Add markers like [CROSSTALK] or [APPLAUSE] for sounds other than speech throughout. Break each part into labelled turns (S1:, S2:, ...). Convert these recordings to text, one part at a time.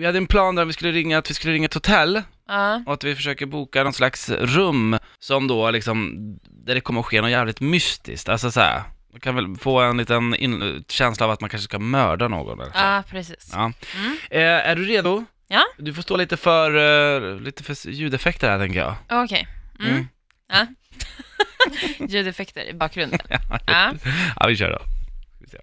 S1: Vi hade en plan där vi skulle ringa, att vi skulle ringa ett hotell
S2: Ja.
S1: och att vi försöker boka någon slags rum som då liksom, där det kommer att ske något jävligt mystiskt. Alltså så här, man kan väl få en liten in- känsla av att man kanske ska mörda någon eller så.
S2: ja, precis.
S1: Ja.
S2: Mm.
S1: Eh, är du redo?
S2: Ja.
S1: Du får stå lite för, eh, lite för ljudeffekter här tänker jag.
S2: Okej. Mm.
S1: Mm.
S2: Ja. Ljudeffekter
S1: [LAUGHS]
S2: i bakgrunden. Ja.
S1: Ja, vi kör då. Ska vi se.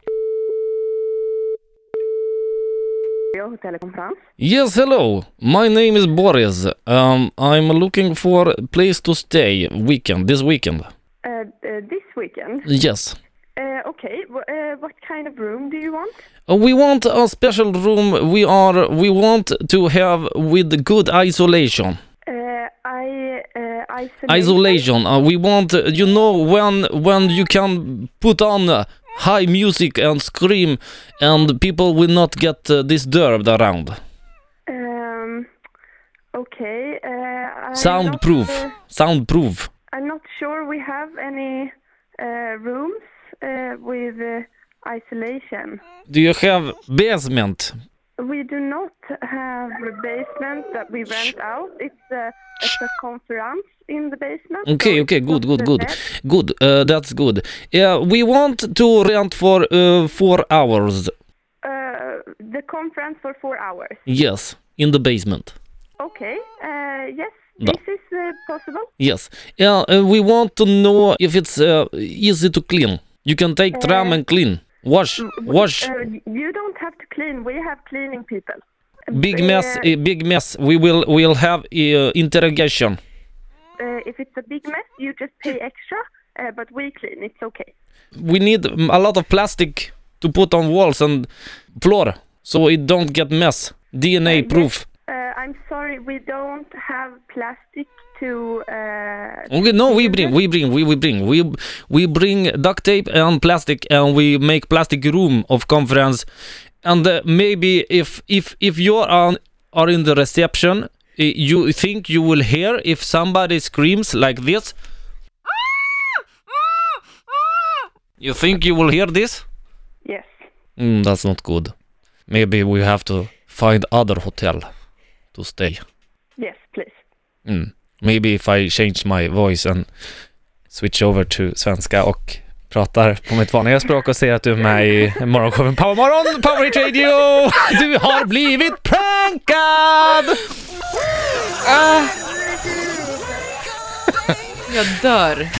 S3: Radio Hotel Konferens.
S4: Yes, hello. My name is Boris. Um, I'm looking for a place to stay weekend this weekend.
S3: Uh, uh, this weekend.
S4: Yes.
S3: Uh, okay, w- uh, what kind of room do you want?
S4: Uh, We want a special room. We are we want to have with good isolation.
S3: Uh, I uh, isolation.
S4: Isolation. Uh, we want uh, you know when when you can put on uh, high music and scream and people will not get uh, disturbed around.
S3: Um, okay. Uh, I'm
S4: Soundproof.
S3: Not, uh,
S4: Soundproof.
S3: I'm not sure we have any uh, rooms uh, with uh, isolation.
S4: Do you have basement?
S3: We do not have a basement that we rent out. It's a, it's a conference in the basement. so
S4: Okay,
S3: it's
S4: okay, good,
S3: not
S4: good, good,
S3: the best.
S4: good. Uh, that's good. Uh, we want to rent for uh, four hours.
S3: Uh, the conference for four hours.
S4: Yes, in the basement.
S3: Okay. Uh, yes,
S4: No.
S3: this is uh, possible.
S4: Yes. Uh, uh, we want to know if it's uh, easy to clean. You can take tram and clean, wash, wash.
S3: Uh, you don't have to clean. We have cleaning people.
S4: Big mess,
S3: uh,
S4: uh, big mess. We will, we'll have uh, interrogation.
S3: Uh, if it's a big mess, you just pay extra. Uh, but we clean. It's okay.
S4: We need mm, a lot of plastic to put on walls and floor, so it don't get mess. DNA proof.
S3: Uh, I'm sorry, we don't have plastic to. Uh,
S4: Okay, no, we bring, we bring, we, we bring, we we bring duct tape and plastic, and we make plastic room of conference, and uh, maybe if if if you are on, are in the reception, uh, you think you will hear if somebody screams like this. You think you will hear this?
S3: yes.
S4: Mm, that's not good. Maybe we have to find other hotel to stay.
S3: Yes, please.
S4: Mm. Maybe if I change my voice and switch over to svenska och pratar på mitt vanliga språk och säger att du är med i morgonshowen Powermorgon, Power Hit Radio! Du har blivit prankad!
S2: Jag dör.